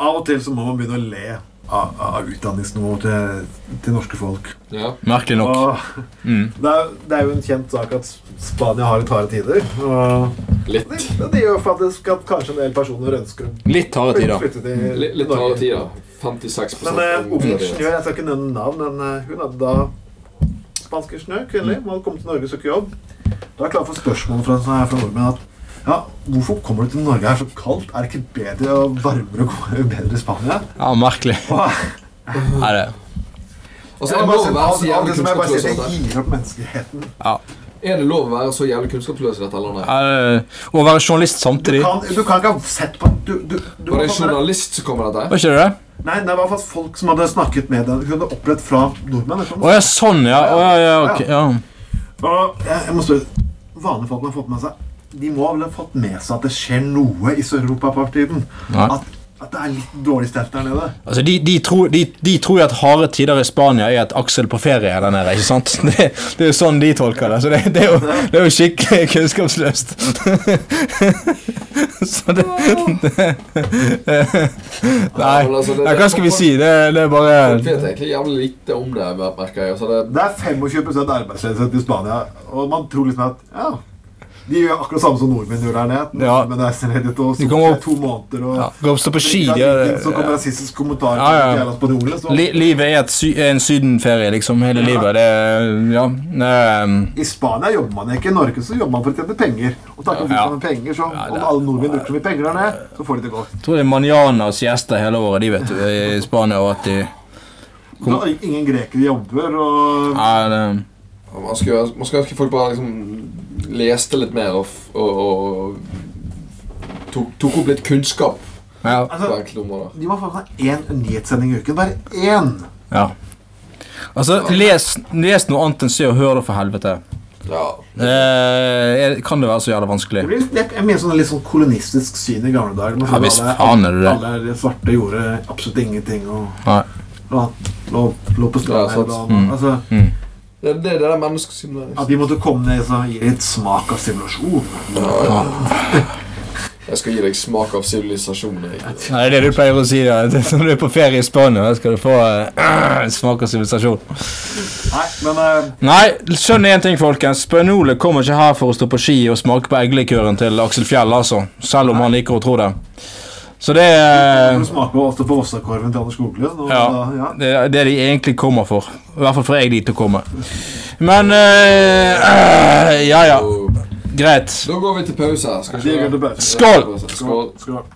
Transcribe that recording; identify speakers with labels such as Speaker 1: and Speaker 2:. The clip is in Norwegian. Speaker 1: Av og til så må man begynne å le av, av utdanningsnivået til, til norske folk.
Speaker 2: Ja.
Speaker 3: Merkelig nok.
Speaker 1: Og
Speaker 3: Mm.
Speaker 1: det, er, det er jo en kjent sak at Spania har litt harde tider. Og det,
Speaker 2: Litt.
Speaker 1: det gjør faktisk at kanskje en del personer ønsker å
Speaker 3: Litt harde tider. Mm.
Speaker 1: flytte til
Speaker 2: Mm. Litt, litt hardere tid, da. 56
Speaker 1: Men eh,
Speaker 2: omgradering.
Speaker 1: ingeniør, jeg skal ikke nevne navn, men eh, hun hadde da spansk ingeniør, kvinnelig,
Speaker 3: Mm.
Speaker 1: hun hadde kommet til Norge og søkt jobb. Da er jeg klar for spørsmål fra, fra nordmenn at ja, hvorfor kommer du til Norge her så kaldt? Er det ikke bedre og varmere og gode- bedre i Spania?
Speaker 3: Ja, merkelig.
Speaker 1: Og,
Speaker 3: Nei, det.
Speaker 2: Altså,
Speaker 1: jeg
Speaker 2: er det
Speaker 1: må
Speaker 2: lov
Speaker 1: bare
Speaker 2: å være så
Speaker 1: si, av, av
Speaker 2: jævlig
Speaker 1: det som jeg bare
Speaker 2: kunnskapsløs i
Speaker 1: sier, det
Speaker 2: dette?
Speaker 1: gir opp menneskeheten.
Speaker 2: Er det lov å være så jævlig kunnskapsløs i dette landet?
Speaker 3: Ja, det- Å være journalist
Speaker 1: Du
Speaker 3: samtidig
Speaker 1: kan, du kan ikke ha sett på Du, du, du må
Speaker 2: Var det en
Speaker 1: få med deg-
Speaker 2: journalist som kom med dette?
Speaker 3: Var ikke det det?
Speaker 1: Nei, det var faktisk folk som hadde snakket med den. Hun hadde opplevd fra nordmenn. jeg kan
Speaker 3: Å ja, sånn, ja. Å, ja, ja, ok, ja.
Speaker 1: Og jeg, jeg må spørre Vanlige folk har fått med seg De må vel ha fått med seg at det skjer noe i Sør-Europa-partiden?
Speaker 3: Nei.
Speaker 1: At, at det er litt dårlig stelt der nede?
Speaker 3: Altså, de, de, tror, de, de tror jo at harde tider i Spania er at Aksel på ferie er der nede. ikke sant? Det, det er jo sånn de tolker det. Så det, det, er, jo, det er jo skikkelig kunnskapsløst. Så det, det Nei,
Speaker 2: Ja, men altså, det-
Speaker 3: ja, hva skal vi si? Det, det er bare
Speaker 2: Folk vet egentlig jævlig lite om det, merker jeg. Altså, det,
Speaker 1: Det er 25 arbeidsledighet i Spania, og man tror liksom at ja, de gjør akkurat samme som nordmenn gjør der nede.
Speaker 3: Ja.
Speaker 1: Men det er selvledighet og så
Speaker 3: De kommer
Speaker 1: går det
Speaker 3: opp-
Speaker 1: to måneder og
Speaker 3: ja, Gå og stå på ski.
Speaker 1: Drikker
Speaker 3: De,
Speaker 1: av drikken, Så
Speaker 3: er-
Speaker 1: kommer rasistiske kommentarer
Speaker 3: Ja, ja.
Speaker 1: til jævla spanjoler. Så.
Speaker 3: li, livet er et sy, er en sydenferie, liksom. Hele
Speaker 1: Ja.
Speaker 3: livet. Det er- Ja. ehm,
Speaker 1: I Spania jobber man ikke. I Norge så jobber man for å tjene penger. Og takk for
Speaker 3: Ja.
Speaker 1: ja. penger, så
Speaker 3: Ja, det
Speaker 1: om
Speaker 3: er-
Speaker 1: alle nordmenn bruker så mye penger der nede, så får de det godt.
Speaker 3: Jeg tror det er manjana og siesta hele året, de, vet du, i Spania. og at de... Kom-
Speaker 1: Da Ingen grekere jobber, og
Speaker 3: Ja, det...
Speaker 2: man, skulle, ønske- man skulle ønske folk bare liksom leste litt mer og, f- og, og tok, tok opp litt kunnskap
Speaker 3: Ja.
Speaker 2: på
Speaker 1: altså,
Speaker 2: enkelte områder.
Speaker 1: De må få seg én nyhetssending i uken. Bare én!
Speaker 3: Ja. Altså, les, les noe annet enn Se og Hør, da, for helvete.
Speaker 2: Ja.
Speaker 3: Eh, er- kan det være så jævla vanskelig?
Speaker 1: Det blir, jeg, jeg mener sånn litt sånn kolonistisk syn i gamle dager. men
Speaker 3: Ja, visst
Speaker 1: alle-
Speaker 3: faen er det det.
Speaker 1: Alle de svarte gjorde absolutt ingenting og
Speaker 3: Nei.
Speaker 1: og lå, lå på stranda.
Speaker 2: Ja, sant.
Speaker 1: eller,
Speaker 3: Mm.
Speaker 1: altså,
Speaker 2: Det, det, det er det menneskesynet
Speaker 1: at de måtte komme ned og gi litt smak av Uh. simulasjon.
Speaker 2: Jeg skal gi deg smak av sivilisasjon. jeg.
Speaker 3: Nei, det er det du pleier å si da. Det er Når du er på ferie i Spania, da skal du få eh, smak av sivilisasjon.
Speaker 1: Nei, men eh,
Speaker 3: Nei, skjønn én ting, folkens. Spanjoler kommer ikke her for å stå på ski og smake på eggelikøren til Aksel Fjell, altså. Selv om han liker å tro det. Så det
Speaker 1: du
Speaker 3: er
Speaker 1: får smake ofte på Vossakorven til Anders Skoglund. Og,
Speaker 3: Eh, Ja.
Speaker 1: da- ja.
Speaker 3: Det er det de egentlig kommer for. I hvert fall får jeg de til å komme. Men eh, Ja, ja.
Speaker 2: Og,
Speaker 3: Greit.
Speaker 2: da går vi til pause her. Skal
Speaker 1: Det er
Speaker 2: vi
Speaker 1: gøy til
Speaker 2: ikke det?
Speaker 1: pause.
Speaker 3: Skål!
Speaker 2: Skål.
Speaker 1: Skål.